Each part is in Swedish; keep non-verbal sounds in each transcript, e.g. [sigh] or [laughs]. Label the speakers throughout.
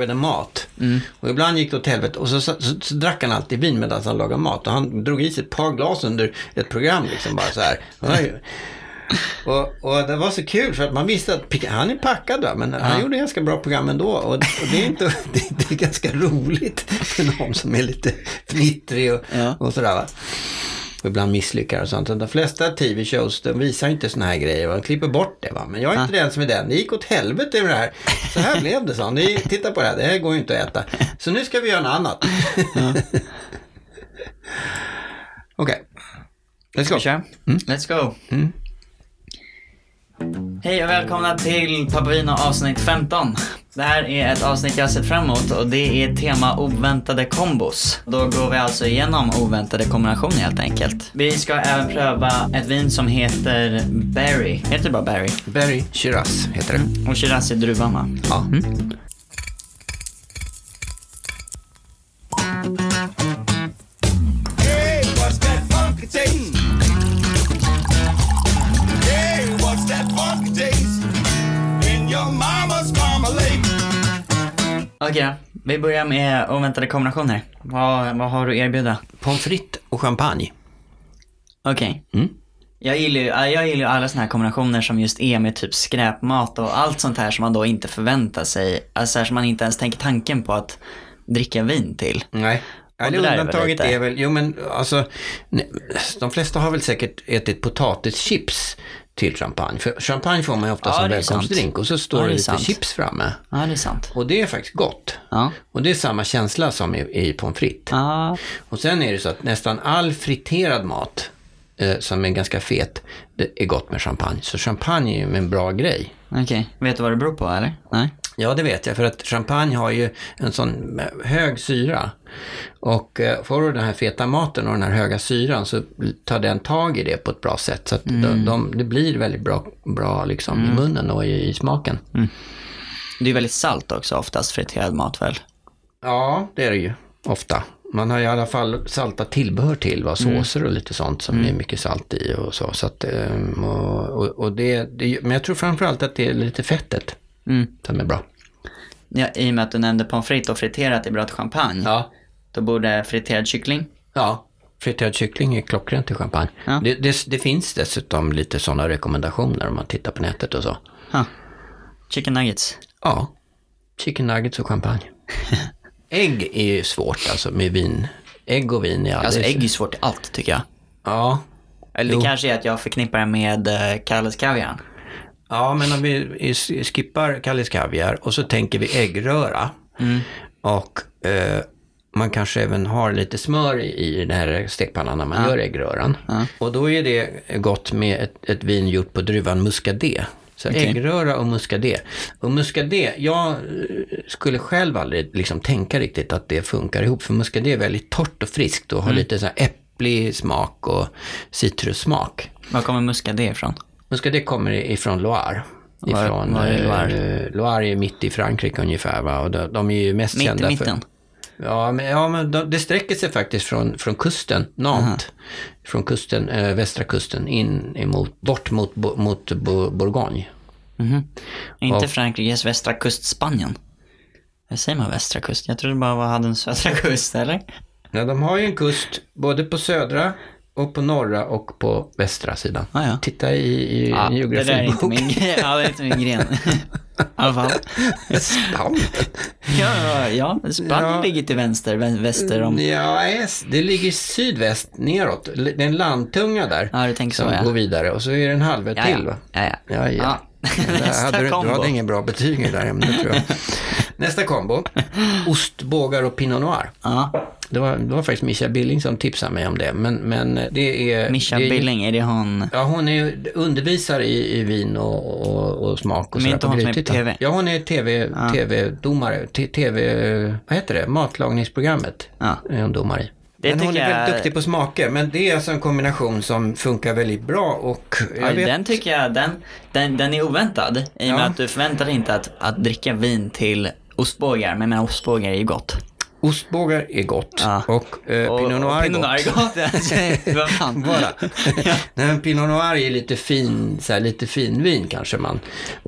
Speaker 1: lagade mat. Och ibland gick det åt helvete och så, så, så, så drack han alltid vin medan han lagade mat. Och han drog i sig ett par glas under ett program liksom bara så här. Han har ju- Och, och det var så kul för att man visste att Pica- han är packad va, men han gjorde ganska bra program ändå. Och, och det, är inte, [laughs] det, det är ganska roligt för någon som är lite fnittrig och,
Speaker 2: Ja.
Speaker 1: och sådär va. Och ibland misslyckar och sånt. De flesta tv-shows de visar inte såna här grejer. va. De klipper bort det. Va? Men jag är
Speaker 2: Ah.
Speaker 1: inte den som är den. Det gick åt helvete med det här. Så
Speaker 2: [laughs]
Speaker 1: här blev det, sa han. Ni, Titta på det här. Det här går ju inte att äta. Så nu ska vi göra något annat. [laughs] Okej. Let's
Speaker 2: Ska
Speaker 1: go.
Speaker 2: vi köra? Let's go. Hej och välkomna till Paperino avsnitt 15. Det här är ett avsnitt jag har sett fram emot och det är tema oväntade kombos. Då går vi alltså igenom oväntade kombinationer helt enkelt. Vi ska även pröva ett vin som heter Berry. Heter det bara Berry?
Speaker 1: Berry Shiraz heter det.
Speaker 2: Och Shiraz är druvan va?
Speaker 1: Ja.
Speaker 3: Hey, what's that funky taste? Hey, what's that funky taste? In your mama's marmalade.
Speaker 2: Okej, vi börjar med oväntade kombinationer. Vad, vad har du att erbjuda?
Speaker 1: Pommes frites och champagne.
Speaker 2: Okej.
Speaker 1: Mm.
Speaker 2: Jag gillar ju jag gillar ju alla såna här kombinationer som just är med typ skräpmat och allt sånt här som man då inte förväntar sig. Alltså här som man inte ens tänker tanken på att dricka vin till.
Speaker 1: Nej.
Speaker 2: Och
Speaker 1: Eller
Speaker 2: det där är väl
Speaker 1: undantaget
Speaker 2: lite-
Speaker 1: är väl, jo men alltså, ne- de flesta har väl säkert ätit potatischips till champagne. För champagne får man ju ofta
Speaker 2: Ja,
Speaker 1: som
Speaker 2: det är sant.
Speaker 1: välkomstdrink och så står
Speaker 2: Ja,
Speaker 1: det
Speaker 2: det är
Speaker 1: lite
Speaker 2: sant.
Speaker 1: chips framme.
Speaker 2: Ja, det är sant.
Speaker 1: Och det är faktiskt gott.
Speaker 2: Ja.
Speaker 1: Och det är samma känsla som i, i pommes frites.
Speaker 2: Ja.
Speaker 1: Och sen är det så att nästan all friterad mat eh, som är ganska fet, det är gott med champagne. Så champagne är ju en bra grej.
Speaker 2: Okej. Vet du vad det beror på eller? Nej.
Speaker 1: Ja, det vet jag. För att champagne har ju en sån hög syra. Och eh, får du den här feta maten och den här höga syran så tar den tag i det på ett bra sätt. Så att de, de, det blir väldigt bra, bra liksom, i munnen och i, i smaken.
Speaker 2: Det är väldigt salt också oftast friterad mat väl?
Speaker 1: Ja, det är det ju ofta. Man har i alla fall salta tillbehör till, va? såser och lite sånt som det är mycket salt i och så. så att, ehm, och, och, och det, det, men jag tror framförallt att det är lite fettet som är bra.
Speaker 2: Ja, I och med att du nämnde pommes frites och friterat i bröd och champagne.
Speaker 1: Ja,
Speaker 2: Då borde friterad kyckling.
Speaker 1: Ja, friterad kyckling är klockrent till champagne.
Speaker 2: Ja.
Speaker 1: Det, det, det finns dessutom lite sådana rekommendationer om man tittar på nätet och så.
Speaker 2: Ha. Chicken nuggets.
Speaker 1: Ja, chicken nuggets och
Speaker 2: [laughs]
Speaker 1: champagne. Ägg är ju svårt alltså med vin. Ägg och vin är alldeles...
Speaker 2: Alltså ägg är ju svårt i allt tycker jag.
Speaker 1: Ja.
Speaker 2: Eller det kanske är att jag förknippar det med eh, Kalles Kaviar.
Speaker 1: ja, men om vi i- skippar Kalles Kaviar och så tänker vi äggröra. Och eh, man kanske även har lite smör i, i den här stekpannan när man gör äggröran. Och då är det gott med ett, ett vin gjort på druvan muscadet. Så äggröra och muscadet. Och muscadet, jag eh, skulle själv aldrig liksom tänka riktigt att det funkar ihop. För muscadet är väldigt torrt och friskt och har lite så här äpplig smak och citrussmak.
Speaker 2: Var kommer muskade ifrån?
Speaker 1: Muscadet kommer ifrån Loire.
Speaker 2: Var-
Speaker 1: Ifrån,
Speaker 2: var är
Speaker 1: eh,
Speaker 2: Loire?
Speaker 1: Loire är mitt i Frankrike ungefär. Va? Och de, de är ju mest
Speaker 2: Mitt i
Speaker 1: kända
Speaker 2: mitten?
Speaker 1: för... Ja, men, ja, men de, det sträcker sig faktiskt från, från kusten, Nantes, från kusten, eh, västra kusten, in emot, bort mot, Bo- mot Bo- Bourgogne.
Speaker 2: Inte Frankrikes västra kust Spanien? Eller säger man västra kust? Jag trodde bara man hade en södra kust, eller?
Speaker 1: Ja, de har ju en kust både på södra och på norra och på västra sidan.
Speaker 2: Ah, ja.
Speaker 1: Titta i, i
Speaker 2: Ja,
Speaker 1: en
Speaker 2: det där är
Speaker 1: [laughs]
Speaker 2: inte
Speaker 1: geografibok.
Speaker 2: min gren. Ja, det är inte min gren. I alla fall.
Speaker 1: Spanien.
Speaker 2: Ja, ja, ja. Spanien
Speaker 1: Ja.
Speaker 2: ligger till vänster, vä- väster om...
Speaker 1: Ja, es- det ligger sydväst neråt. L- Det är en landtunga där.
Speaker 2: Ja, du tänker så,
Speaker 1: som
Speaker 2: ja.
Speaker 1: går vidare och så är det en halvö
Speaker 2: Ja,
Speaker 1: till.
Speaker 2: ja.
Speaker 1: Va?
Speaker 2: ja, ja.
Speaker 1: Ja, ja. Där
Speaker 2: [laughs] Nästa
Speaker 1: hade du, du
Speaker 2: kombo.
Speaker 1: hade ingen bra betyg i det där ämnet tror jag.
Speaker 2: [laughs]
Speaker 1: Nästa kombo. Ostbågar och Pinot Noir.
Speaker 2: Ja.
Speaker 1: Det var, det var faktiskt Mischa Billing som tipsade mig om det. Men, men det är...
Speaker 2: Mischa
Speaker 1: det är,
Speaker 2: Billing, är det hon?
Speaker 1: Ja, hon är ju undervisare i, i vin och, och, och smak och
Speaker 2: Men
Speaker 1: sådär
Speaker 2: inte
Speaker 1: på
Speaker 2: hon som är på
Speaker 1: Grythyttan.
Speaker 2: TV?
Speaker 1: Ja, hon är TV, tv-domare. T- TV... Vad heter det? Matlagningsprogrammet
Speaker 2: Ja.
Speaker 1: är hon domare i.
Speaker 2: Det
Speaker 1: men hon
Speaker 2: tycker
Speaker 1: är
Speaker 2: jag-
Speaker 1: väldigt duktig på smaker. Men det är alltså en kombination som funkar väldigt bra och... Jag
Speaker 2: Ja,
Speaker 1: vet...
Speaker 2: Den tycker jag, den, den, den är oväntad. I och med
Speaker 1: Ja.
Speaker 2: att du förväntar dig inte att, att dricka vin till ostbågar. Men jag menar, ostbågar är ju gott.
Speaker 1: ostbågar är gott
Speaker 2: Ja.
Speaker 1: och eh, Pinot Noir är
Speaker 2: Pinot
Speaker 1: gott.
Speaker 2: Noir
Speaker 1: [laughs]
Speaker 2: är gott. ja. Vad fan.
Speaker 1: Bara.
Speaker 2: [laughs]
Speaker 1: [laughs] Nej, men Pinot Noir är lite fin, så här, lite finvin kanske man,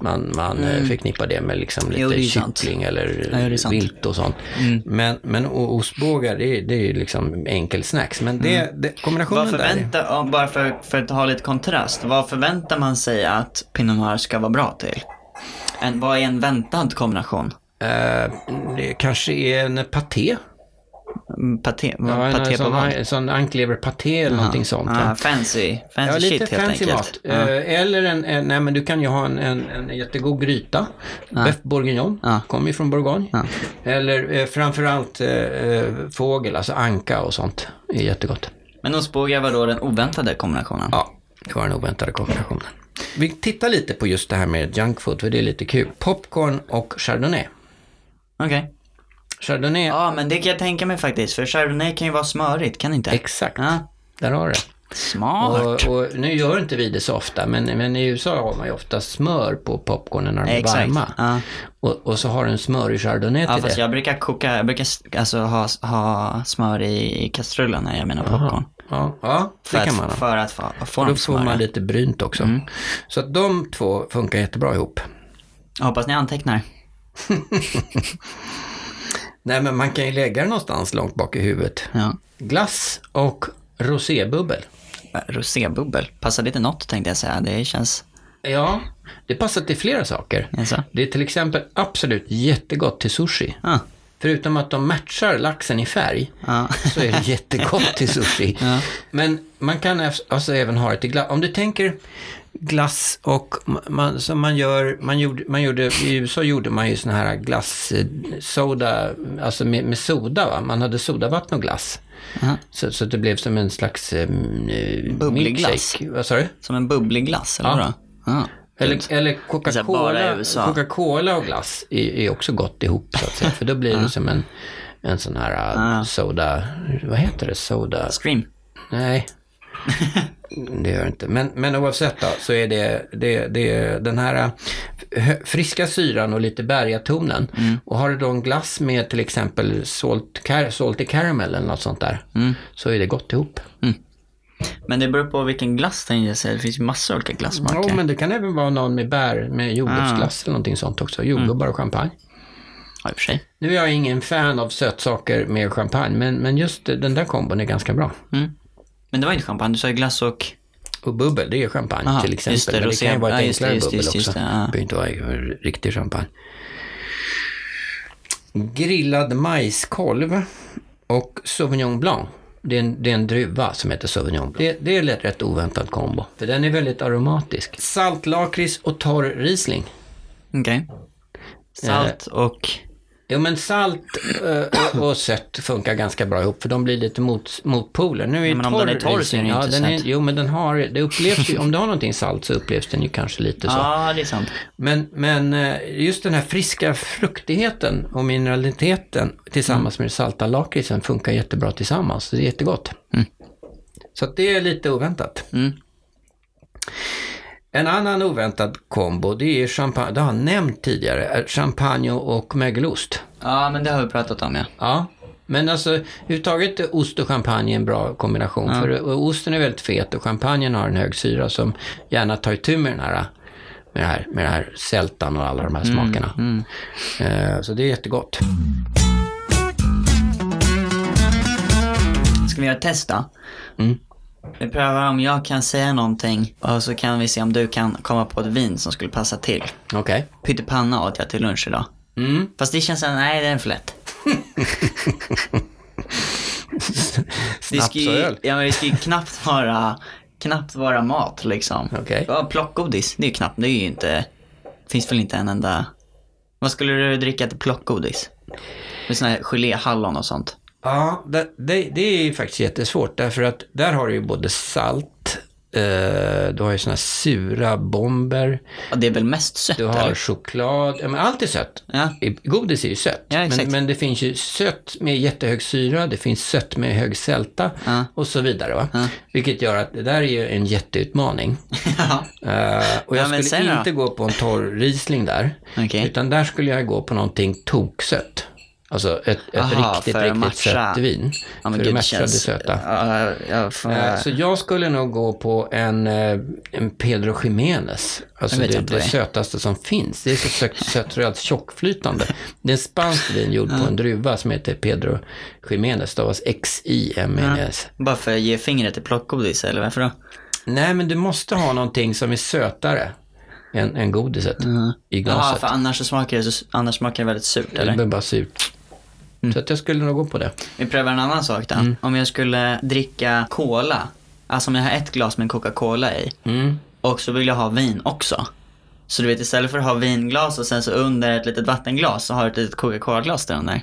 Speaker 1: man, man mm. förknippar det med liksom
Speaker 2: Jo, det
Speaker 1: lite
Speaker 2: är sant.
Speaker 1: kyckling eller
Speaker 2: Ja, det är sant. Mm.
Speaker 1: vilt och sånt. Men, men o- ostbågar det är, det är ju liksom enkel-snacks. Men det, det, kombinationen
Speaker 2: Mm. Vad
Speaker 1: där. är-
Speaker 2: förväntar, ja, bara för, för att ha lite kontrast, vad förväntar man sig att Pinot Noir ska vara bra till? En, vad är en väntad kombination?
Speaker 1: Eh, det kanske är en paté.
Speaker 2: Mm, Paté, vad-
Speaker 1: Ja, en
Speaker 2: paté på
Speaker 1: sån,
Speaker 2: vad?
Speaker 1: sån ankleverpaté eller någonting sånt.
Speaker 2: Ah,
Speaker 1: ja.
Speaker 2: fancy, fancy
Speaker 1: Ja, lite
Speaker 2: shit helt
Speaker 1: fancy
Speaker 2: enkelt.
Speaker 1: mat. Eh, Eller en, en, nej men du kan ju ha en, en, en jättegod gryta. Beff bourguignon,
Speaker 2: Ja.
Speaker 1: kommer ju från Bourgogne. Eller eh, framförallt eh, eh, fågel, alltså anka och sånt. är jättegott.
Speaker 2: Men ostbågar var då den oväntade kombinationen.
Speaker 1: Ja, det var den oväntade kombinationen. Vi tittar lite på just det här med junk food, för det är lite kul. Popcorn och chardonnay.
Speaker 2: Okej.
Speaker 1: Chardonnay,
Speaker 2: Ja, men det kan jag tänka mig faktiskt, för chardonnay kan ju vara smörigt, kan det inte?
Speaker 1: exakt.
Speaker 2: Ja.
Speaker 1: Där har du det.
Speaker 2: Smart.
Speaker 1: Och, och nu gör inte vi det så ofta, men, men i USA har man ju ofta smör på popcornen när de är
Speaker 2: Exakt,
Speaker 1: varma.
Speaker 2: ja.
Speaker 1: Och, och så har du en smörig chardonnay
Speaker 2: Ja,
Speaker 1: till
Speaker 2: fast
Speaker 1: det.
Speaker 2: jag brukar koka, jag brukar s- alltså ha, ha smör i kastrullen när jag menar popcorn.
Speaker 1: Ja, ja,
Speaker 2: För
Speaker 1: det
Speaker 2: att,
Speaker 1: kan man ha.
Speaker 2: För att få, få
Speaker 1: Och
Speaker 2: dem
Speaker 1: då får
Speaker 2: smöriga.
Speaker 1: man lite brynt också. Så att de två funkar jättebra ihop.
Speaker 2: Jag hoppas ni antecknar.
Speaker 1: Nej, men man kan ju lägga det någonstans långt bak i huvudet.
Speaker 2: Ja.
Speaker 1: Glass och rosébubbel.
Speaker 2: Äh, Rosébubbel. Passar lite något tänkte jag säga. Det känns...
Speaker 1: Ja, det passar till flera saker.
Speaker 2: Jaså?
Speaker 1: Det är till exempel absolut jättegott till sushi.
Speaker 2: Ah.
Speaker 1: Förutom att de matchar laxen i färg
Speaker 2: Ja. [laughs]
Speaker 1: så är det jättegott till sushi. Men man kan ev- alltså även ha det till glass. Om du tänker glass och ma- man, som man gör, man gjorde, man gjorde, i USA gjorde man ju sån här glass, eh, soda, alltså med, med soda va, man hade sodavatten och glass.
Speaker 2: Aha.
Speaker 1: Så, så det blev som en slags eh,
Speaker 2: Bubblig glass.
Speaker 1: milkshake. Vad sa du?
Speaker 2: Som en bubblig glass, eller
Speaker 1: Ja.
Speaker 2: vadå? Ja.
Speaker 1: Eller, eller
Speaker 2: Det är så här Typ. Alltså bara i
Speaker 1: Coca-Cola
Speaker 2: USA.
Speaker 1: Coca-Cola och glass är, är också gott ihop så att
Speaker 2: [laughs]
Speaker 1: säga. För då blir det som en, en sån här äh, soda, vad heter det? Soda?
Speaker 2: Scream.
Speaker 1: Nej. Det gör det inte. Men, men oavsett då, så är det, det, det är den här äh, hö- friska syran och lite bergatonen. Och har du då en glass med till exempel salt, car- salty caramel eller något sånt där, så är det gott ihop.
Speaker 2: Men det beror på vilken glass den ger sig. Det finns ju massor av olika glassmaker.
Speaker 1: Ja, men det kan även vara någon med bär, med jordgubbsglass eller någonting sånt också. Jordgubbar och champagne.
Speaker 2: Ja, i och för sig.
Speaker 1: Nu är jag ingen fan av sötsaker med champagne, men, men just den där kombon är ganska bra.
Speaker 2: Men det var inte champagne. Du sa ju glass och...
Speaker 1: Och bubbel, det är champagne
Speaker 2: Aha,
Speaker 1: till exempel.
Speaker 2: just det,
Speaker 1: men det
Speaker 2: rosé-
Speaker 1: kan ju vara ett
Speaker 2: ja, just det,
Speaker 1: enklare
Speaker 2: just det,
Speaker 1: bubbel
Speaker 2: just
Speaker 1: också.
Speaker 2: det, just det, ja.
Speaker 1: Det behöver inte vara riktig champagne. Grillad majskolv och Sauvignon Blanc. Det är, en, det är en druva som heter Sauvignon Blanc. Det, det är en rätt oväntad kombo, för den är väldigt aromatisk. Saltlakrits och torr Riesling.
Speaker 2: Okej.
Speaker 1: Eh.
Speaker 2: Salt och...
Speaker 1: Jo, men salt eh, och sött funkar ganska bra ihop, för de blir lite mot, motpoler. Nu är
Speaker 2: men om
Speaker 1: torr
Speaker 2: den är torr så
Speaker 1: Riesling,
Speaker 2: är den ju
Speaker 1: ja,
Speaker 2: inte
Speaker 1: den är,
Speaker 2: söt.
Speaker 1: Jo, men den har, det upplevs ju, om du har någonting salt så upplevs den ju kanske
Speaker 2: [laughs]
Speaker 1: lite så.
Speaker 2: Ja, det är sant.
Speaker 1: Men, men eh, just den här friska fruktigheten och mineraliteten tillsammans med den salta lakritsen funkar jättebra tillsammans. Så Det är jättegott. Så att det är lite oväntat. En annan oväntad kombo, det är champagne, det har jag nämnt tidigare, är champagne och mögelost.
Speaker 2: Ja, men det har vi pratat om, ja.
Speaker 1: Ja, men alltså överhuvudtaget är ost och champagne en bra kombination. För och osten är väldigt fet och champagnen har en hög syra som gärna tar itu med den här med det här, med det här sältan och alla de här smakerna. Eh, Så det är jättegott.
Speaker 2: Ska vi göra ett test då?
Speaker 1: Mm.
Speaker 2: Vi prövar om jag kan säga någonting och så kan vi se om du kan komma på ett vin som skulle passa till.
Speaker 1: [laughs] Okej.
Speaker 2: Pyttipanna åt jag till lunch idag.
Speaker 1: Mm.
Speaker 2: Fast det känns, nej det är för lätt. Det ska
Speaker 1: och
Speaker 2: ju,
Speaker 1: öl.
Speaker 2: ja, men det ska ju knappt vara, knappt vara mat liksom.
Speaker 1: Okej.
Speaker 2: Ja, plockgodis, det är ju knappt, det är ju inte, finns väl inte en enda. Vad skulle du dricka till plockgodis? Med såna här geléhallon och sånt.
Speaker 1: Ja, det, det, det är faktiskt jättesvårt därför att där har du ju både salt, eh, du har ju såna sura bomber,
Speaker 2: Och det är väl mest sött
Speaker 1: Du har
Speaker 2: eller?
Speaker 1: choklad, ja, men allt är sött.
Speaker 2: Ja. [laughs]
Speaker 1: I- Godis är ju sött.
Speaker 2: Ja, exakt.
Speaker 1: men, men det finns ju sött med jättehög syra, det finns sött med hög sälta och så vidare. Va? Vilket gör att det där är ju en
Speaker 2: [laughs]
Speaker 1: jätteutmaning. Eh, och jag
Speaker 2: Ja, men
Speaker 1: skulle
Speaker 2: sen då?
Speaker 1: inte gå på en torr Riesling där.
Speaker 2: Okej.
Speaker 1: Utan där skulle jag gå på någonting toksött. Alltså ett, ett
Speaker 2: Aha,
Speaker 1: riktigt,
Speaker 2: för att
Speaker 1: riktigt
Speaker 2: matcha.
Speaker 1: sött vin.
Speaker 2: Ja,
Speaker 1: för att
Speaker 2: gud,
Speaker 1: matcha det
Speaker 2: känns-
Speaker 1: söta.
Speaker 2: Ja, jag får...
Speaker 1: Eh, Så jag skulle nog gå på en, eh, en Pedro Jiménez. Alltså
Speaker 2: Jag vet
Speaker 1: det,
Speaker 2: inte
Speaker 1: det
Speaker 2: vad det är. sötaste
Speaker 1: som finns. Det är så
Speaker 2: [laughs]
Speaker 1: sött, sött röd tjockflytande. Det är en spansk vin gjord på en druva som heter Pedro Jiménez. Stavas E X-I-M-E-N-E-S.
Speaker 2: Bara för att ge fingret till plockgodis, eller varför då?
Speaker 1: Nej, men du måste ha någonting som är sötare än, än godiset i
Speaker 2: Ja,
Speaker 1: glaset.
Speaker 2: för annars så smakar det, så- annars smakar det Mm. väldigt surt,
Speaker 1: det
Speaker 2: eller?
Speaker 1: blir bara surt. Så att jag skulle nog gå på det.
Speaker 2: Vi prövar en annan sak då.
Speaker 1: Mm.
Speaker 2: Om jag skulle dricka cola, alltså om jag har ett glas med en Coca-Cola i,
Speaker 1: Mm.
Speaker 2: och så vill jag ha vin också. Så du vet, istället för att ha vinglas och sen så under ett litet vattenglas så har du ett litet Coca-Cola-glas där under.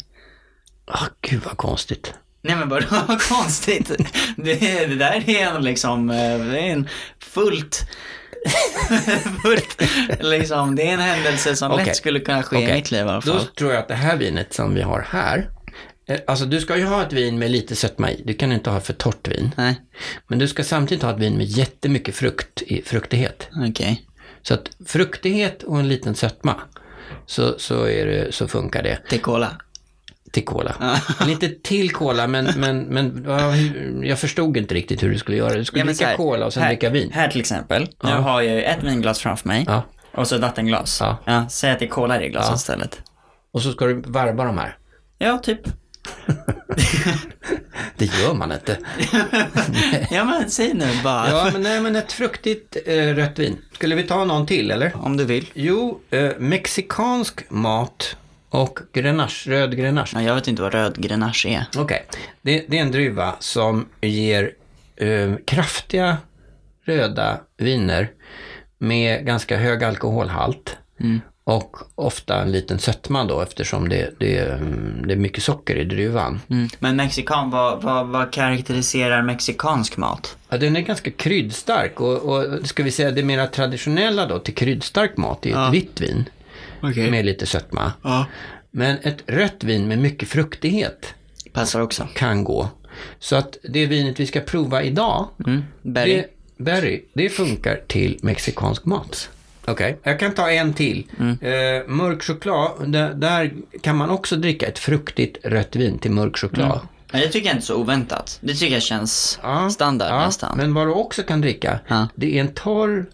Speaker 1: Ah, gud vad konstigt.
Speaker 2: Nej men vadå, [laughs] vad konstigt. Det, det där är en liksom, eh, det är en fullt, [laughs] fullt, liksom, det är en händelse som
Speaker 1: Okej.
Speaker 2: lätt skulle kunna ske i
Speaker 1: Okej.
Speaker 2: mitt liv i alla
Speaker 1: Då
Speaker 2: fall.
Speaker 1: tror jag att det här vinet som vi har här. eh, Alltså du ska ju ha ett vin med lite sötma i. Du kan inte ha för torrt vin.
Speaker 2: Nej,
Speaker 1: Men du ska samtidigt ha ett vin med jättemycket frukt, i- fruktighet.
Speaker 2: okej.
Speaker 1: Så att fruktighet och en liten sötma, så, så, är det, så funkar det
Speaker 2: Till cola.
Speaker 1: till cola. Men inte till cola, men, men, men ja, hur- jag förstod inte riktigt hur du skulle göra. Du skulle
Speaker 2: Ja, men så
Speaker 1: dricka
Speaker 2: här,
Speaker 1: cola och sen
Speaker 2: här,
Speaker 1: dricka vin.
Speaker 2: Här till exempel, nu har jag ju ett vinglas framför mig
Speaker 1: Ja.
Speaker 2: och så ett vattenglas.
Speaker 1: Ja.
Speaker 2: säg att det är cola i det glaset istället.
Speaker 1: Och så ska du varva de här. [laughs]
Speaker 2: Ja, typ.
Speaker 1: Det gör man inte.
Speaker 2: Ja, men säg nu bara.
Speaker 1: Ja, men, nej, men ett fruktigt eh, rött vin. Skulle vi ta någon till, eller?
Speaker 2: Om du vill.
Speaker 1: Jo, eh, mexikansk mat och grenache, röd grenache.
Speaker 2: Ja, jag vet inte vad röd grenache är.
Speaker 1: Okej, det, det är en druva som ger eh, kraftiga röda viner med ganska hög alkoholhalt. Och ofta en liten sötma då eftersom det, det, är, mm, det är mycket socker i druvan.
Speaker 2: Men mexikan, vad, vad, vad karaktäriserar mexikansk mat?
Speaker 1: Ja, den är ganska kryddstark och, och ska vi säga det mera traditionella då till kryddstark mat är ett vitt vin
Speaker 2: Okej.
Speaker 1: med lite sötma.
Speaker 2: Ja.
Speaker 1: Men ett rött vin med mycket fruktighet
Speaker 2: Passar också.
Speaker 1: kan gå. Så att det vinet vi ska prova idag
Speaker 2: Mm. Berry.
Speaker 1: Det, berry, det funkar till mexikansk mat. Okej, jag kan ta en till.
Speaker 2: Mm.
Speaker 1: Eh, mörk choklad, där, där kan man också dricka ett fruktigt rött vin till mörk choklad.
Speaker 2: Men det tycker jag inte är så oväntat. Det tycker jag känns
Speaker 1: Ja,
Speaker 2: standard
Speaker 1: ja,
Speaker 2: nästan.
Speaker 1: Men vad du också kan dricka,
Speaker 2: Ja.
Speaker 1: det är en torr,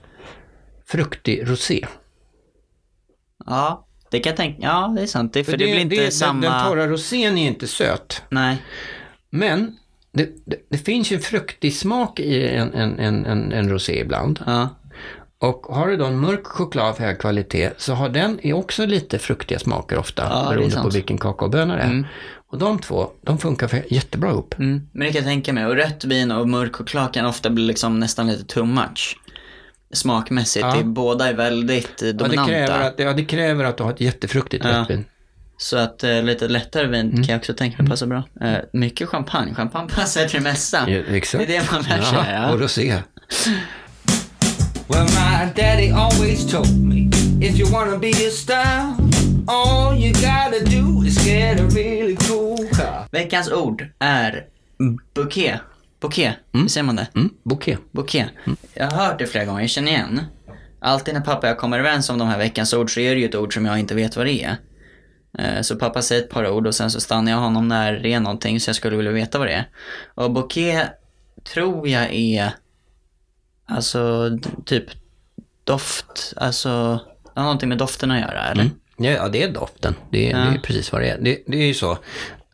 Speaker 1: fruktig rosé.
Speaker 2: Ja, det kan jag tänka. Ja, det är sant. Det, för det, blir inte
Speaker 1: den-
Speaker 2: samma...
Speaker 1: Den torra rosén är inte söt,
Speaker 2: Nej.
Speaker 1: men det, det, det finns ju en fruktig smak i en, en, en, en, en rosé ibland.
Speaker 2: Ja.
Speaker 1: Och har du då en mörk choklad av hög kvalitet så har den är också lite fruktiga smaker ofta
Speaker 2: Ja, det är
Speaker 1: beroende på
Speaker 2: sant. Mm.
Speaker 1: vilken kakaoböna det är. Och de två, de funkar för jättebra ihop.
Speaker 2: Men det kan jag tänka mig. Och rött vin och mörk choklad kan ofta bli liksom nästan lite too much. Smakmässigt.
Speaker 1: Ja.
Speaker 2: Det, båda är väldigt eh,
Speaker 1: Ja, det,
Speaker 2: dominanta.
Speaker 1: kräver att, ja, det kräver att du har ett jättefruktigt
Speaker 2: Ja.
Speaker 1: rött vin.
Speaker 2: Så att eh, lite lättare vin
Speaker 1: Mm.
Speaker 2: kan jag också tänka mig passar bra. Eh, mycket champagne. Champagne [laughs] passar till det mesta.
Speaker 1: exakt.
Speaker 2: Det är det man lär sig. Ja.
Speaker 1: liksom. Och rosé.
Speaker 4: Well, my daddy always told me if you wanna be a star, all you gotta do is get a really cool car.
Speaker 2: Veckans ord är bouquet. Bouquet, hur säger man det?
Speaker 1: Mm, bouquet.
Speaker 2: Bouquet. Jag har hört det flera gånger, jag känner igen. Alltid när pappa och jag kommer överens om de här veckans ord så är det ju ett ord som jag inte vet vad det är. Eh, Så pappa säger ett par ord och sen så stannar jag honom när det är någonting så jag skulle vilja veta vad det är. Och bouquet tror jag är, alltså d- typ doft, alltså, det har någonting med doften att göra eller?
Speaker 1: Ja, ja, det är doften. Det är, det är precis vad det är. Det, det är ju så.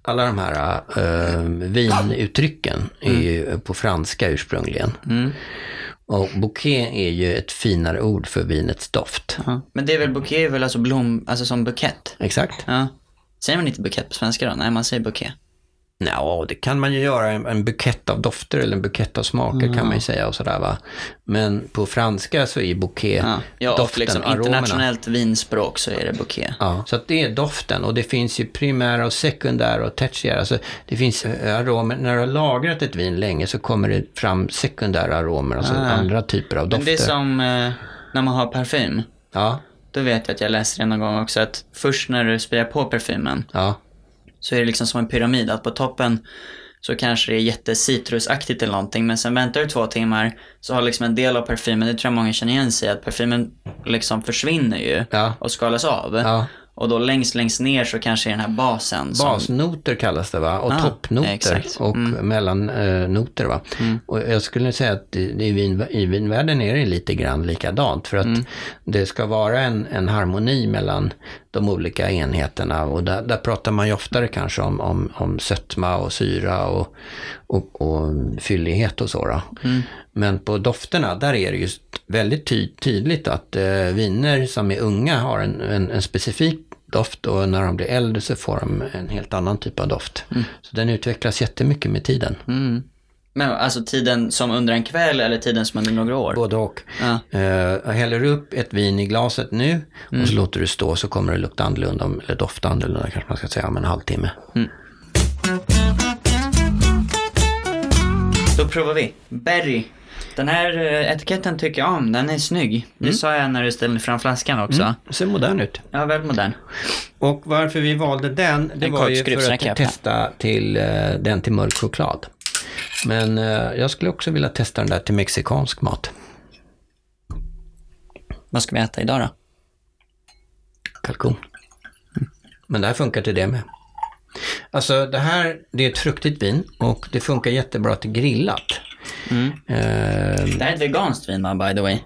Speaker 1: Alla de här äh, vinuttrycken är
Speaker 2: Mm.
Speaker 1: ju på franska ursprungligen. Och bouquet är ju ett finare ord för vinets doft.
Speaker 2: Ja. Men det är väl bouquet, är väl alltså blom, alltså som bukett?
Speaker 1: Exakt.
Speaker 2: Ja. Säger man inte bukett på svenska då? Nej, man säger bouquet.
Speaker 1: Ja, det kan man ju göra. En, en bukett av dofter eller en bukett av smaker kan man ju säga och sådär va. Men på franska så är bouquet
Speaker 2: Ja, ja och
Speaker 1: doften,
Speaker 2: liksom
Speaker 1: aromerna.
Speaker 2: internationellt vinspråk så är det bouquet.
Speaker 1: Ja, så att det är doften och det finns ju primära och sekundära och tertiära. Alltså, det finns eh, aromer. När du har lagrat ett vin länge så kommer det fram sekundära aromer, alltså andra typer av
Speaker 2: Ah. Men
Speaker 1: dofter.
Speaker 2: det är som eh, när man har parfym.
Speaker 1: Ja,
Speaker 2: Då vet jag att jag läste det någon gång också att först när du sprider på parfymen
Speaker 1: ja,
Speaker 2: så är det liksom som en pyramid. Att på toppen så kanske det är jättecitrusaktigt eller någonting. Men sen väntar du två timmar så har liksom en del av parfymen, det tror jag många känner igen sig i, att parfymen liksom försvinner ju
Speaker 1: Ja.
Speaker 2: och skalas av.
Speaker 1: Ja.
Speaker 2: Och då längst, längst ner så kanske är den här basen. Som,
Speaker 1: Basnoter kallas det va? Och
Speaker 2: Ah,
Speaker 1: toppnoter
Speaker 2: exakt. Mm.
Speaker 1: och mellannoter va? Och jag skulle säga att i, i, vin, i vinvärlden är det lite grann likadant. För att
Speaker 2: Mm.
Speaker 1: det ska vara en, en harmoni mellan de olika enheterna. Och där, där pratar man ju oftare kanske om, om, om sötma och syra och, och, och fyllighet och så. Då.
Speaker 2: Mm.
Speaker 1: Men på dofterna, där är det ju väldigt ty, tydligt att eh, viner som är unga har en, en, en specifik doft och när de blir äldre så får de en helt annan typ av doft.
Speaker 2: Mm.
Speaker 1: Så den utvecklas jättemycket med tiden.
Speaker 2: men alltså tiden som under en kväll eller tiden som under några år.
Speaker 1: Både och.
Speaker 2: Ja. Mm.
Speaker 1: Eh, häller du upp ett vin i glaset nu och så låter du stå så kommer det lukta annorlunda, om- eller dofta annorlunda kanske man ska säga, om en halvtimme.
Speaker 2: Då provar vi. Berry. Den här eh, etiketten tycker jag om. Den är snygg. Det
Speaker 1: Mm.
Speaker 2: sa jag när du ställde fram flaskan också.
Speaker 1: Det ser modern ut.
Speaker 2: Ja, väldigt modern.
Speaker 1: Och varför vi valde den, det
Speaker 2: En
Speaker 1: var ju för
Speaker 2: korkskruvsnäcka,
Speaker 1: att
Speaker 2: öppna.
Speaker 1: testa till, eh, den till mörk choklad. Men eh, jag skulle också vilja testa den där till mexikansk mat.
Speaker 2: Vad ska vi äta idag då?
Speaker 1: kalkon. Mm. Men det här funkar till det med. Alltså det här, det är ett fruktigt vin och det funkar jättebra till grillat.
Speaker 2: Mm.
Speaker 1: Eh,
Speaker 2: Det här är ett veganskt vin va, by the way?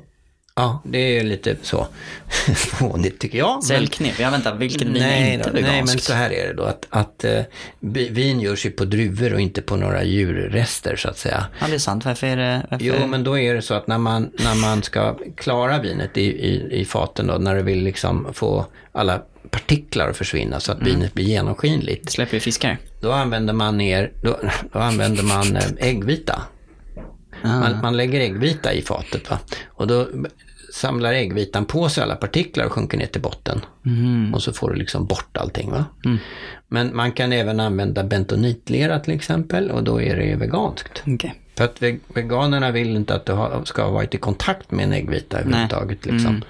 Speaker 1: ja, det är lite så [laughs] fånigt tycker jag. men-
Speaker 2: Säljknep. Jag väntar, vilket vin är
Speaker 1: Nej,
Speaker 2: inte
Speaker 1: då, nej, men
Speaker 2: veganskt?
Speaker 1: så här är det då. Att, att eh, bi- vin görs ju på druvor och inte på några djurrester så att säga.
Speaker 2: Ja, det är sant. Varför är det... Varför...
Speaker 1: Jo, men då är det så att när man, när man ska klara vinet i, i, i faten då, när du vill liksom få alla partiklar att försvinna så att
Speaker 2: Mm.
Speaker 1: vinet blir genomskinligt.
Speaker 2: Det släpper ju fiskar.
Speaker 1: då använder man, ner, då, då använder man eh, äggvita. Man, man lägger äggvita i fatet va? och då samlar äggvitan på sig alla partiklar och sjunker ner till botten. Och så får du liksom bort allting. Va? Men man kan även använda bentonitlera till exempel och då är det ju veganskt.
Speaker 2: Okej.
Speaker 1: För att ve- veganerna vill inte att du ha, ska ha varit i kontakt med en äggvita överhuvudtaget. Liksom.
Speaker 2: Mm.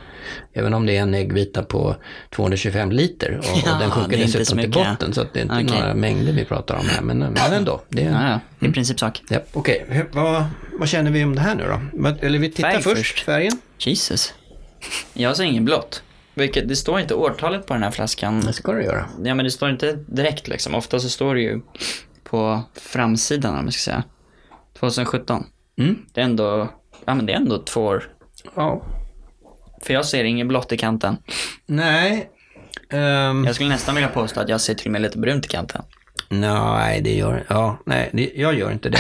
Speaker 1: Även om det är en äggvita på 225 liter och,
Speaker 2: Ja,
Speaker 1: och den sjunker
Speaker 2: det är inte
Speaker 1: dessutom
Speaker 2: så
Speaker 1: till
Speaker 2: mycket.
Speaker 1: botten. Så att det är inte
Speaker 2: Okej.
Speaker 1: några mängder vi pratar om här. Men, men ändå. Det är,
Speaker 2: Ja, ja. Det är i princip sak.
Speaker 1: Ja, Okej, Hur- vad, vad känner vi om det här nu då? Vad- Eller vi tittar
Speaker 2: Färg
Speaker 1: först,
Speaker 2: först.
Speaker 1: färgen.
Speaker 2: Jesus. Jag ser ingen blått. Vilket, det står inte årtalet på den här flaskan.
Speaker 1: Det ska du göra.
Speaker 2: Ja, men det står inte direkt liksom. Ofta så står det ju på framsidan, om man ska säga. 2017.
Speaker 1: Mm.
Speaker 2: Det är ändå, ja men det är ändå två år.
Speaker 1: Ja.
Speaker 2: För jag ser inget blått i kanten.
Speaker 1: Nej. Ehm,
Speaker 2: Jag skulle nästan vilja påstå att jag ser till och med lite brunt i kanten.
Speaker 1: Nej, det gör, ja, nej, det, jag gör inte det.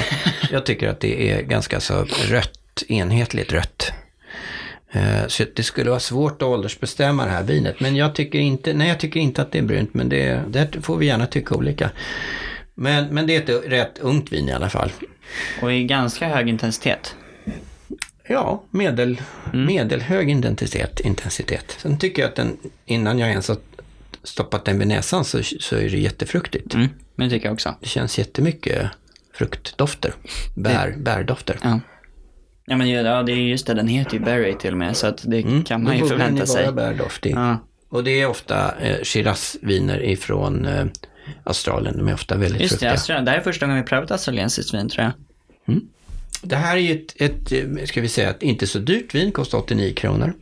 Speaker 1: Jag tycker att det är ganska så rött, enhetligt rött. Eh, Så det skulle vara svårt att åldersbestämma det här vinet. Men jag tycker inte, nej, jag tycker inte att det är brunt, men det, det får vi gärna tycka olika. Men, men det är ett rätt ungt vin i alla fall.
Speaker 2: Och i ganska hög intensitet.
Speaker 1: Ja, medel, medelhög intensitet, intensitet. Sen tycker jag att den, innan jag ens har stoppat den vid näsan så, så är det jättefruktigt.
Speaker 2: Mm. Men det tycker jag också.
Speaker 1: Det känns jättemycket fruktdofter. Bär, bärdofter.
Speaker 2: Ja. Ja men ju- ja, det är just det, den heter ju Berry till och med. Så att det kan man ju
Speaker 1: Då borde den
Speaker 2: förvänta sig.
Speaker 1: Bara bärdoft i.
Speaker 2: Ja.
Speaker 1: Och det är ofta eh, Shiraz-viner ifrån eh, Australien. De är ofta väldigt
Speaker 2: Just det,
Speaker 1: fruktiga.
Speaker 2: Astra, det här är första gången vi prövat australiensiskt vin tror jag.
Speaker 1: Det här är ju ett, ett, eh, ska vi säga, ett inte så dyrt vin, kostar 89 kronor.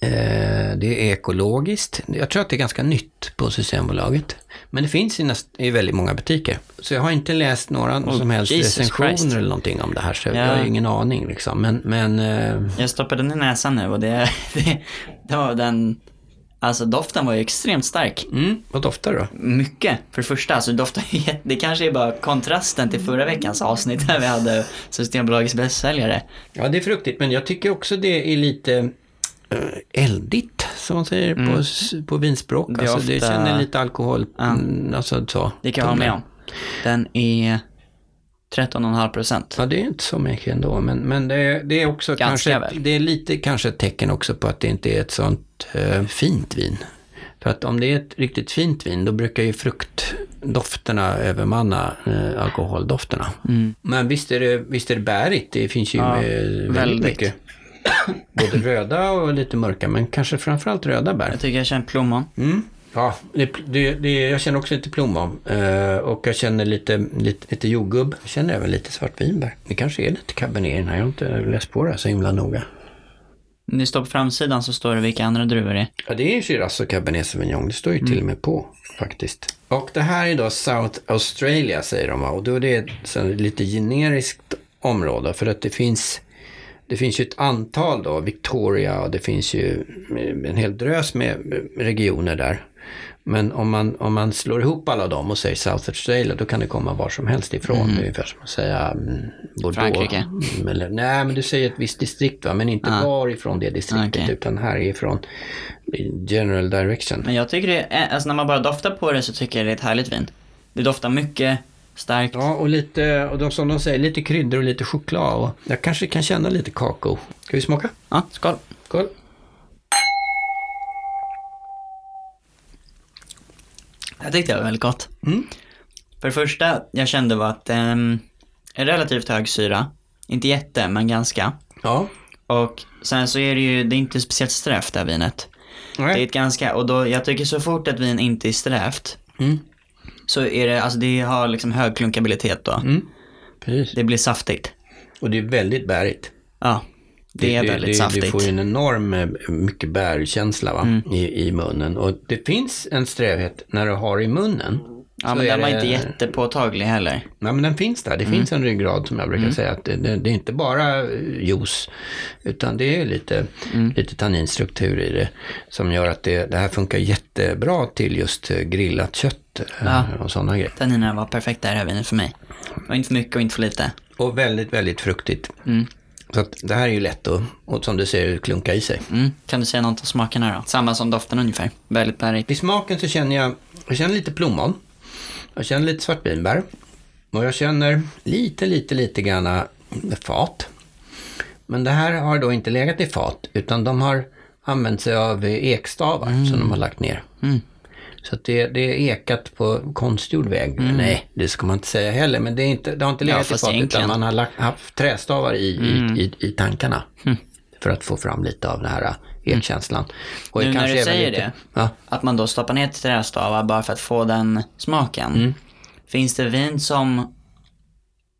Speaker 1: Eh, det är ekologiskt. Jag tror att det är ganska nytt på Systembolaget. Men det finns i, näst, i väldigt många butiker. Så jag har inte läst några som helst
Speaker 2: Jesus
Speaker 1: recensioner
Speaker 2: Christ.
Speaker 1: eller någonting om det här. Så
Speaker 2: Ja.
Speaker 1: jag har ju ingen aning liksom. Men, men eh,
Speaker 2: Jag stoppade den i näsan nu och det, [laughs] det, det var den... Alltså doften var ju extremt stark.
Speaker 1: mm, vad doftar det då?
Speaker 2: Mycket, för det första. Alltså, det, doftar, ju [laughs] jätte- det kanske är bara kontrasten till förra veckans avsnitt där vi hade Systembolagets bästsäljare.
Speaker 1: Ja, det är fruktigt, men jag tycker också det är lite eh, eldigt, som man säger på, s- på vinspråk.
Speaker 2: Mm. Det är
Speaker 1: alltså, det
Speaker 2: ofta-
Speaker 1: känner lite alkohol, mm, alltså så.
Speaker 2: Det kan jag hålla med om. Den är 13,5 procent.
Speaker 1: Ja, det är inte så mycket ändå, men, men det, är- det är också
Speaker 2: Ganska
Speaker 1: kanske,
Speaker 2: väl.
Speaker 1: det är lite kanske ett tecken också på att det inte är ett sånt eh, fint vin. För att om det är ett riktigt fint vin, då brukar ju fruktdofterna övermanna eh, alkoholdofterna.
Speaker 2: Mm.
Speaker 1: Men visst är, det, visst är det bärigt, det finns ju eh, väldigt,
Speaker 2: väldigt.
Speaker 1: mycket. Både röda och lite mörka, men kanske framförallt röda bär.
Speaker 2: Jag tycker jag känner plommon.
Speaker 1: Mm. Ja, det, det, det, jag känner också lite plommon eh, och jag känner lite, lite, lite jordgubb. Jag känner även lite svartvinbär. Det kanske är lite cabernet i den här. Jag har inte läst på det här så himla noga.
Speaker 2: Ni står på framsidan så står det vilka andra druvor det är.
Speaker 1: Ja, det är ju Shiraz och Cabernet Sauvignon. Det står ju
Speaker 2: Mm.
Speaker 1: till och med på faktiskt. Och det här är då South Australia säger de va? Och då är det ett så här lite generiskt område för att det finns det finns ju ett antal då, Victoria och det finns ju eh, en hel drös med eh, regioner där. Men om man, om man slår ihop alla dem och säger South Australia, då kan det komma var som helst ifrån. Det är ungefär som att säga mm, Bordeaux.
Speaker 2: Frankrike.
Speaker 1: Mm, Eller, nej, men du säger ett visst distrikt, va? men inte varifrån det distriktet,
Speaker 2: Okej.
Speaker 1: utan härifrån general direction.
Speaker 2: Men jag tycker det är, alltså när man bara doftar på det så tycker jag det är ett härligt vin. Det doftar mycket, starkt.
Speaker 1: Ja, och lite, och de, som de säger, lite kryddor och lite choklad. Och jag kanske kan känna lite kakao. Ska vi smaka?
Speaker 2: Ja, skål.
Speaker 1: Skål.
Speaker 2: Jag tyckte det var väldigt gott. För det första jag kände var att ehm, en relativt hög syra. Inte jätte, men ganska.
Speaker 1: Ja.
Speaker 2: Och sen så är det ju, det är inte speciellt strävt det här vinet. Det är ett ganska, och då, jag tycker så fort ett vin inte är strävt,
Speaker 1: Mm.
Speaker 2: så är det, alltså det har liksom hög klunkabilitet då.
Speaker 1: Mm. Precis.
Speaker 2: Det blir saftigt.
Speaker 1: Och det är väldigt bärigt.
Speaker 2: Ja, det, är väldigt
Speaker 1: det,
Speaker 2: saftigt.
Speaker 1: Du
Speaker 2: Mm.
Speaker 1: får ju en enorm eh, mycket bärkänsla va? I, i munnen. Och det finns en strävhet när du har i munnen.
Speaker 2: ja,
Speaker 1: Så
Speaker 2: men
Speaker 1: är
Speaker 2: den var
Speaker 1: det-
Speaker 2: inte jättepåtaglig heller.
Speaker 1: Nej, men den finns där. Det finns en ryggrad som jag brukar säga att det, det, det är inte bara eh, juice, utan det är lite, lite tanninstruktur i det som gör att det, det här funkar jättebra till just eh, grillat kött eh,
Speaker 2: Ja.
Speaker 1: och sådana grejer.
Speaker 2: Tanninerna var perfekta i det här vinet för mig. Och inte för mycket och inte för lite.
Speaker 1: Och väldigt, väldigt fruktigt. Så att det här är ju lätt att, och som du ser, klunka i sig.
Speaker 2: Mm. Kan du säga något om smakerna då? Samma som doften ungefär. Väldigt bärigt.
Speaker 1: Vid smaken så känner jag, jag känner lite plommon. Jag känner lite svartvinbär. Och jag känner lite, lite, lite granna fat. Men det här har då inte legat i fat, utan de har använt sig av ekstavar
Speaker 2: Mm.
Speaker 1: som de har lagt ner. Så att det, det är ekat på konstgjord väg. Nej, det ska man inte säga heller, men det, är inte, det har inte legat i
Speaker 2: Mm. fast
Speaker 1: fat,
Speaker 2: egentligen. Mm.
Speaker 1: utan man har lagt, haft trästavar i, i, i, i tankarna. För att få fram lite av den här ekkänslan. Och
Speaker 2: Mm. Nu när
Speaker 1: kanske
Speaker 2: du
Speaker 1: även
Speaker 2: säger
Speaker 1: lite-
Speaker 2: det.
Speaker 1: Ja.
Speaker 2: Att man då stoppar ner trästavar bara för att få den smaken. Finns det vin som,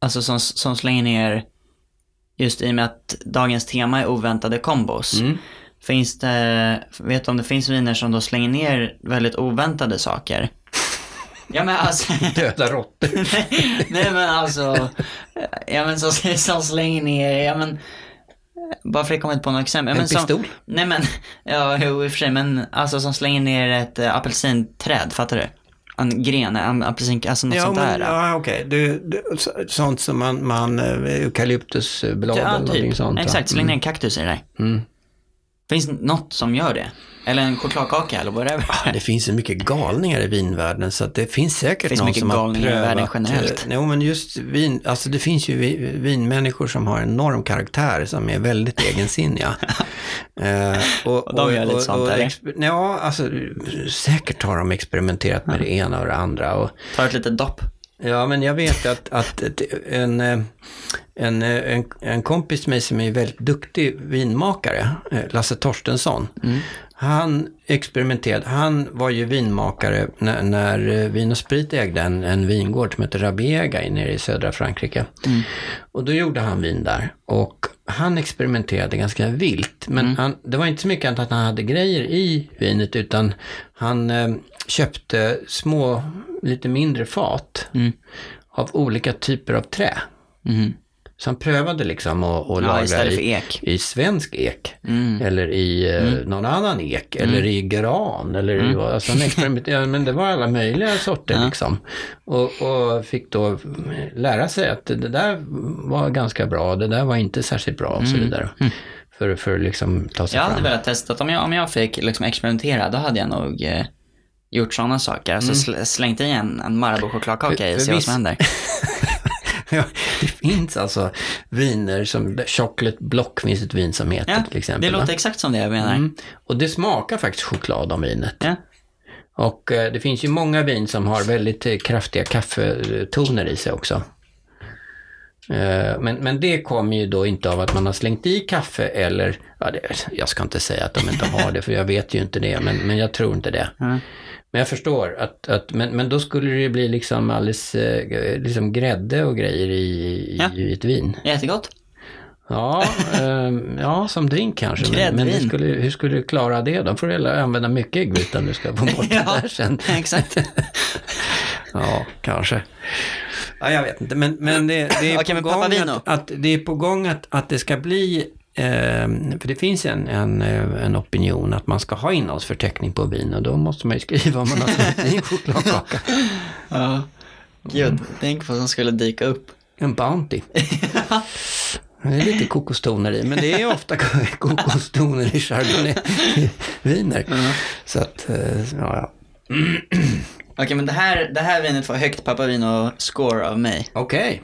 Speaker 2: alltså som, som slänger ner, just i och med att dagens tema är oväntade kombos. Finns det, vet du om det finns viner som då slänger ner väldigt oväntade saker? Ja men alltså,
Speaker 1: döda råttor.
Speaker 2: [laughs] nej men alltså, ja men som, som slänger ner, ja men, bara för att jag kommer inte på något exempel. Ja,
Speaker 1: En
Speaker 2: men som-
Speaker 1: pistol?
Speaker 2: Nej men, ja jo, i och för sig, men alltså som slänger ner ett äh, apelsinträd, fattar du? En gren, en apelsin, alltså något sånt där.
Speaker 1: [laughs]
Speaker 2: Ja,
Speaker 1: ja, okej. Du- du- så- Sånt som man, man eh, eukalyptusblad eller
Speaker 2: typ.
Speaker 1: någonting sånt. va? Mm.
Speaker 2: Exakt, släng ner en kaktus i det där. Finns det något som gör det? Eller en chokladkaka eller whatever.
Speaker 1: Det finns så mycket galningar i vinvärlden så att det finns säkert
Speaker 2: finns
Speaker 1: någon
Speaker 2: mycket
Speaker 1: som har
Speaker 2: galningar i världen
Speaker 1: prövat,
Speaker 2: generellt.
Speaker 1: eh, Jo, men just vin, alltså det finns ju vi- vinmänniskor som har enorm karaktär som är
Speaker 2: [laughs]
Speaker 1: väldigt egensinniga. Eh, och,
Speaker 2: Och de gör lite sånt, eller?
Speaker 1: exper- Ja, alltså säkert har de experimenterat med det ena och det andra. Och,
Speaker 2: Ta ett litet dopp.
Speaker 1: Ja, men jag vet att, att ett- en, eh, en, eh, en, en kompis till mig som är väldigt duktig vinmakare, eh, Lasse Torstensson, han experimenterade. Han var ju vinmakare när, när eh, Vin och Sprit ägde en, en vingård som heter Rabiega i- nere i södra Frankrike. Och då gjorde han vin där. Och han experimenterade ganska vilt. Men
Speaker 2: Mm.
Speaker 1: han, det var inte så mycket att han hade grejer i vinet utan han eh, köpte små, lite mindre fat
Speaker 2: Mm.
Speaker 1: av olika typer av trä. Så han prövade liksom att att
Speaker 2: Ja,
Speaker 1: lagra
Speaker 2: istället
Speaker 1: i-
Speaker 2: för ek.
Speaker 1: i svensk ek
Speaker 2: Mm.
Speaker 1: eller i eh, någon annan ek eller i gran eller
Speaker 2: Mm.
Speaker 1: i, alltså han experimenterade, men det var alla möjliga sorter liksom. Och, och fick då mm, lära sig att det där var ganska bra, det där var inte särskilt bra och så
Speaker 2: Mm.
Speaker 1: vidare. För, för att liksom ta sig
Speaker 2: Jag hade
Speaker 1: fram.
Speaker 2: velat testa, om jag, om jag fick liksom experimentera, då hade jag nog eh, gjort sådana saker. Alltså sl- slängt i en, en Marabou-chokladkaka i och
Speaker 1: Mm. För-
Speaker 2: se vad
Speaker 1: förvisso- [laughs]
Speaker 2: som händer.
Speaker 1: [laughs] Ja, det finns alltså viner som, Chocolate Block finns ett vin som heter
Speaker 2: Ja,
Speaker 1: till exempel.
Speaker 2: det
Speaker 1: va?
Speaker 2: låter exakt som det jag menar.
Speaker 1: Mm. Och det smakar faktiskt choklad om vinet.
Speaker 2: Ja.
Speaker 1: Och eh, det finns ju många vin som har väldigt eh, kraftiga kaffetoner i sig också. Eh, Men, men det kommer ju då inte av att man har slängt i kaffe eller, ja, det, jag ska inte säga att de inte har det för jag vet ju inte det, men, men jag tror inte det.
Speaker 2: Mm.
Speaker 1: Men jag förstår att, att men, men då skulle det ju bli liksom alldeles, eh, liksom grädde och grejer i, i,
Speaker 2: Ja.
Speaker 1: i ett vin.
Speaker 2: Jättegott.
Speaker 1: Ja, ehm, ja som drink kanske. Men, men hur,
Speaker 2: Gräddvin.
Speaker 1: skulle, hur skulle du klara det? De får du använda mycket äggvita om du ska få
Speaker 2: [laughs]
Speaker 1: bort det där sen. [laughs]
Speaker 2: exakt.
Speaker 1: Ja, kanske. Ja, jag vet inte, men, men det, det, är
Speaker 2: Okej, men
Speaker 1: på gång
Speaker 2: Papavino?
Speaker 1: att, att det är på gång att, att det ska bli, ehm, för det finns en, en, eh, en opinion att man ska ha innehållsförteckning på vin och då måste man ju skriva om man har smält i en chokladkaka.
Speaker 2: Ja. Gud, tänk vad som skulle dyka upp.
Speaker 1: En Bounty. Det är lite kokostoner i, men det är ofta [laughs] kokostoner i chardonnay-viner. Så att, eh, ja, ja.
Speaker 2: Okej, men det här, det här vinet får högt Papavino-score av mig.
Speaker 1: Okej.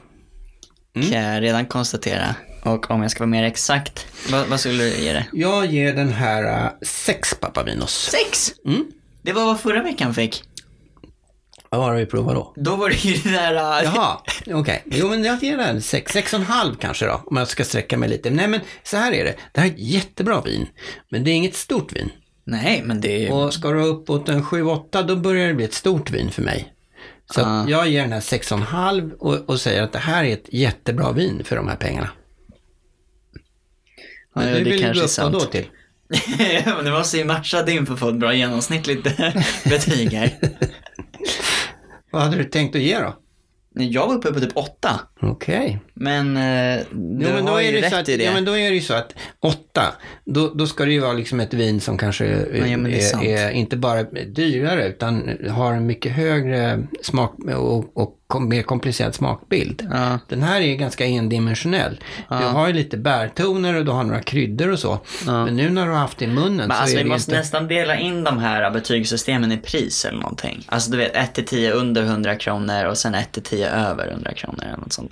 Speaker 1: Mm.
Speaker 2: Kan jag redan konstatera. Och om jag ska vara mer exakt, vad, vad skulle du ge det?
Speaker 1: Jag ger den här eh, sex Papavinos.
Speaker 2: Sex! Mm. Det var vad förra veckan fick.
Speaker 1: Vad har vi provat då?
Speaker 2: Då var det ju det där... äh,
Speaker 1: Jaha, okej. Jo, men jag ger den sex, sex och en halv kanske då, om jag ska sträcka mig lite. Nej, men så här är det. Det här är ett jättebra vin, men det är inget stort vin.
Speaker 2: [laughs] Nej, men det är ju...
Speaker 1: Och ska du uppåt en 7-8, då börjar det bli ett stort vin för mig. Så
Speaker 2: Ah.
Speaker 1: att jag ger den här sex och en halv och, och säger att det här är ett jättebra vin för de här pengarna. Men
Speaker 2: Ja,
Speaker 1: hur
Speaker 2: det
Speaker 1: vill du
Speaker 2: kanske
Speaker 1: gå
Speaker 2: är
Speaker 1: upp och
Speaker 2: sant.
Speaker 1: då till?
Speaker 2: Ja, [laughs] men det måste ju matcha din för att få ett bra genomsnittligt [laughs] betyg här.
Speaker 1: Vad hade du tänkt att ge då?
Speaker 2: Jag var uppe på typ åtta.
Speaker 1: Okej.
Speaker 2: Men eh, du
Speaker 1: Jo, men då
Speaker 2: har
Speaker 1: är
Speaker 2: ju
Speaker 1: det
Speaker 2: rätt
Speaker 1: så att,
Speaker 2: i det.
Speaker 1: Ja, men då är det ju så att åtta, då, då ska det ju vara liksom ett vin som kanske eh,
Speaker 2: Nej, men det är
Speaker 1: är,
Speaker 2: sant.
Speaker 1: är inte bara dyrare utan har en mycket högre smak och, och kom, mer komplicerad smakbild.
Speaker 2: Ja.
Speaker 1: Den här är ju ganska endimensionell. Du har ju lite bärtoner och du har några kryddor och så. Men nu när du har haft det i munnen
Speaker 2: Men
Speaker 1: så
Speaker 2: alltså,
Speaker 1: är
Speaker 2: vi
Speaker 1: det
Speaker 2: måste
Speaker 1: inte...
Speaker 2: nästan dela in de här äh, betygssystemen i pris eller någonting. Alltså du vet 1 till 10 under 100 kronor och sen 1 till 10 över 100 kronor eller något sånt där.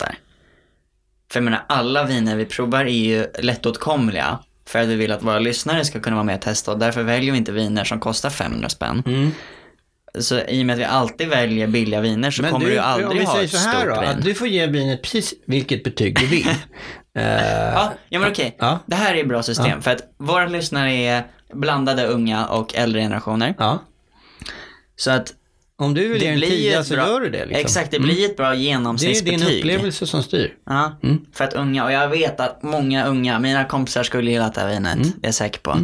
Speaker 2: För jag menar alla viner vi provar är ju lättåtkomliga. För att vi vill att våra lyssnare ska kunna vara med och testa och därför väljer vi inte viner som kostar 500 spänn.
Speaker 1: Mm.
Speaker 2: Så i och med att vi alltid väljer billiga viner så kommer du, ju
Speaker 1: om vi
Speaker 2: aldrig ha
Speaker 1: säger
Speaker 2: ett
Speaker 1: så
Speaker 2: stort
Speaker 1: här då, att
Speaker 2: vin.
Speaker 1: du får ge vinet precis vilket betyg du
Speaker 2: [laughs]
Speaker 1: vill.
Speaker 2: Ja, ja men okej.
Speaker 1: Ja.
Speaker 2: Det här är ett bra system för att våra lyssnare är blandade unga och äldre generationer.
Speaker 1: ja.
Speaker 2: Så att
Speaker 1: Om du vill ge en
Speaker 2: blir ju
Speaker 1: tia
Speaker 2: ett
Speaker 1: så
Speaker 2: bra-
Speaker 1: gör du det. Liksom.
Speaker 2: Exakt, det blir ju ett bra
Speaker 1: Det är
Speaker 2: genomsnittsbetyg.
Speaker 1: din upplevelse Mm. som styr.
Speaker 2: Ja, för att unga, och jag vet att många unga, mina kompisar skulle gilla det här vinet,
Speaker 1: Mm.
Speaker 2: det är jag säker på.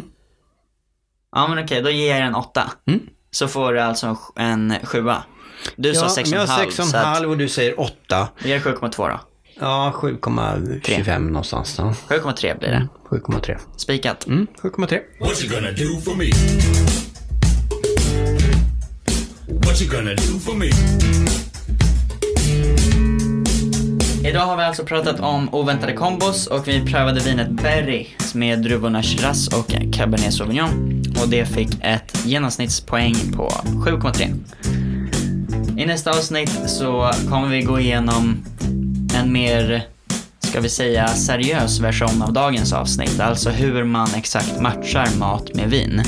Speaker 2: Ja men okej, då ger jag den en åtta.
Speaker 1: Mm.
Speaker 2: Så får du alltså en sj- en sjua. Du sa
Speaker 1: Ja,
Speaker 2: sex
Speaker 1: men
Speaker 2: och
Speaker 1: jag
Speaker 2: en halv,
Speaker 1: sex och en
Speaker 2: så att
Speaker 1: halv och du säger 8.
Speaker 2: vi ger 7,2 då.
Speaker 1: Ja, 7,25 någonstans. Ja.
Speaker 2: 7,3 blir det.
Speaker 1: 7,3.
Speaker 2: Spikat.
Speaker 1: Mm, 7,3.
Speaker 3: What you gonna do for me? What you gonna do for me?
Speaker 2: Idag har vi alltså pratat om oväntade kombos och vi prövade vinet Berry med druvorna Shiraz och Cabernet Sauvignon. Och det fick ett genomsnittspoäng på 7,3. I nästa avsnitt så kommer vi gå igenom en mer, ska vi säga, seriös version av dagens avsnitt. Alltså hur man exakt matchar mat med vin.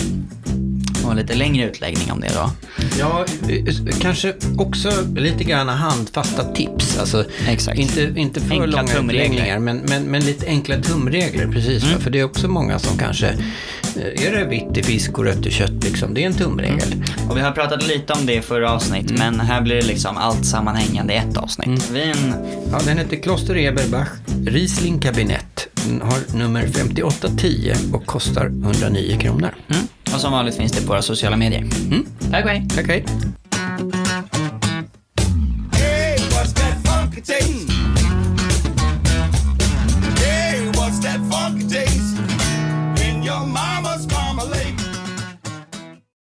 Speaker 2: Och lite längre utläggning om det då.
Speaker 1: Ja, eh, kanske också lite grann handfasta tips. Alltså,
Speaker 2: Exakt.
Speaker 1: Inte, inte för
Speaker 2: Enkla
Speaker 1: långa
Speaker 2: tumregler. Mm.
Speaker 1: utläggningar, men, men, men lite enkla tumregler. Precis, va? för det är också många som kanske... eh, Är det vitt i fisk och rött i kött, liksom? det är en tumregel.
Speaker 2: Och vi har pratat lite om det i förra avsnitt, men här blir det liksom allt sammanhängande i ett avsnitt. Vin
Speaker 1: Ja, den heter Kloster Eberbach Riesling Kabinett. Den har nummer 5810 och kostar 109 kronor.
Speaker 2: Mm. Och som vanligt finns det på våra sociala medier. Tack och hej!
Speaker 1: Tack, hej.